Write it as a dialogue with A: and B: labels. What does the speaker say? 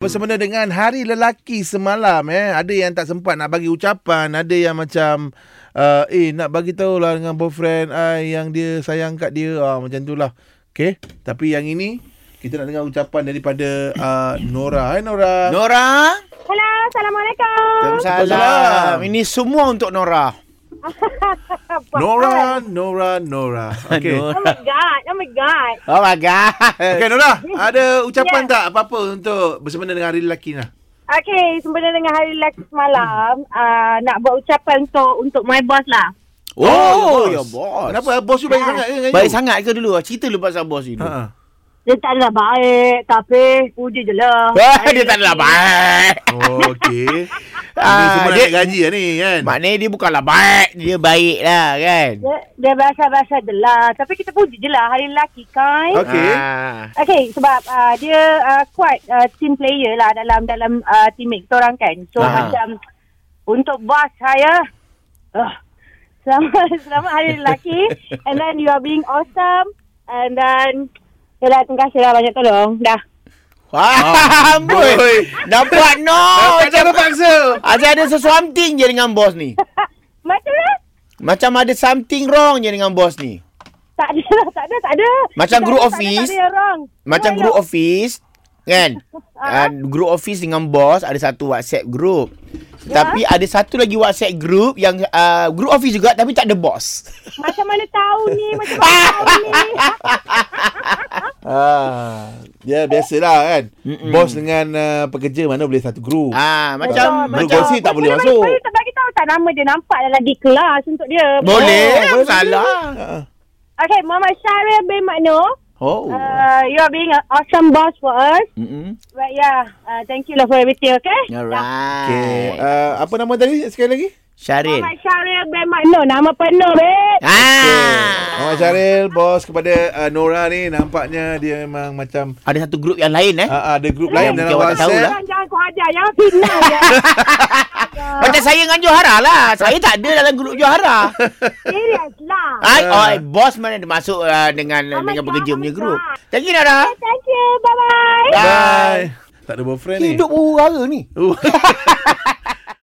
A: Bersemena dengan Hari Lelaki semalam eh. Ada yang tak sempat nak bagi ucapan, ada yang macam uh, eh nak bagi tahu lah dengan boyfriend I yang dia sayang kat dia. Ah macam tu lah. Okay. Tapi yang ini kita nak dengar ucapan daripada uh, Nora. Hai Nora.
B: Nora.
C: Hello, Assalamualaikum.
A: Waalaikumsalam.
B: Waalaikumsalam. Ini semua untuk Nora.
A: Nora, Nora, Nora. Okay.
B: Nora.
C: Oh my God, oh my God.
B: Oh my God.
A: Okay Nora, Eh, ada ucapan
C: Ya.
A: tak apa-apa untuk bersemena dengan Hari Lelaki lah?
C: Okay, sempena dengan hari lelaki semalam, uh, nak buat ucapan untuk untuk my boss lah.
B: Oh, your boss.
A: Kenapa? ya Bos you baik sangat ke dengan
B: Baik
A: you?
B: sangat ke dulu? Cerita lu pasal bos dulu.
A: Ha.
C: Dia tak adalah baik, tapi puji je lah.
B: Wah, Eh, dia tak adalah baik.
A: Oh, okay. Ini
B: Ah,
A: semua nak
B: dia-
A: naik gaji lah ni kan?
B: Maknanya dia bukanlah baik. Dia baik lah kan.
C: Dia, dia biasa-biasa je lah. Tapi kita puji je lah hari lelaki kan. Okay.
A: Okey.
B: Ah.
C: Okay, sebab uh, dia uh, quite uh, team player lah dalam dalam uh, teammate kita orang kan. So,
B: Ah.
C: macam untuk boss saya, uh, selamat, selamat hari lelaki. and then you are being awesome. And then, yalah, terima kasih lah banyak tolong. Dah.
B: Wah, Ah, amboi.
A: amboi.
B: Dapat no.
A: Oh, tak
B: Macam
A: terpaksa.
B: Macam ada sesuatu je dengan bos ni.
C: Macam mana?
B: Macam ada something wrong je dengan bos ni.
C: Tak ada lah, tak ada, tak ada.
B: Macam
C: Tak
B: group
C: ada, tak ada,
B: office.
C: Tak ada, wrong.
B: Macam
C: Wrong
B: group
C: lah.
B: office Kan uh,
C: Uh-huh.
B: Group office dengan bos Ada satu whatsapp group
C: Ya.
B: Tapi ada satu lagi whatsapp group Yang uh, group office juga Tapi tak ada bos
C: Macam mana tahu ni? Macam mana tahu ni?
A: Ah, ya biasalah kan. Mm-mm. Bos dengan uh, pekerja mana boleh satu group. Ah.
B: Ah Macam
C: Betul,
A: Boleh
B: macam
A: gosip tak boleh
C: Boleh
A: masuk.
C: bagi- Boleh bagi tahu tak nama dia nampak dalam di kelas untuk dia.
B: Boleh
A: Oh, boleh,
B: oh, Salah
A: ah.
C: Okay, Muhammad Syaril bin Maknur.
B: Oh
C: Uh, you are being an awesome boss for us.
B: Mm-mm.
C: But yeah, uh, thank you lah for everything, okay?
A: Okay.
B: Alright
A: Uh, apa nama tadi sekali lagi?
B: Syaril
C: Muhammad Syaril bin Maknur. Nama penuh, babe.
B: Ah
A: Muhammad Syaril, bos kepada uh, Nora ni nampaknya dia memang macam
B: Ada satu grup yang lain eh
A: uh, ada grup
B: Lain
A: lain dalam
B: mungkin awak tak tahu
A: WhatsApp.
B: lah.
C: Jangan, jangan kau ajar. Jangan fitnah ya. dia.
B: Macam saya dengan Johara lah Saya tak ada dalam grup Johara
C: Serius lah.
B: Ai,
A: Ah.
B: oh, ai, bos mana dia masuk uh, dengan
C: Oh my
B: dengan
C: God,
B: pekerja
C: oh my
B: punya grup.
C: God.
B: Thank you Nara.
C: Okay, Thank you. Bye-bye.
A: Bye. Tak ada boyfriend ni.
B: Hidup huru-hara ni.
A: Uh.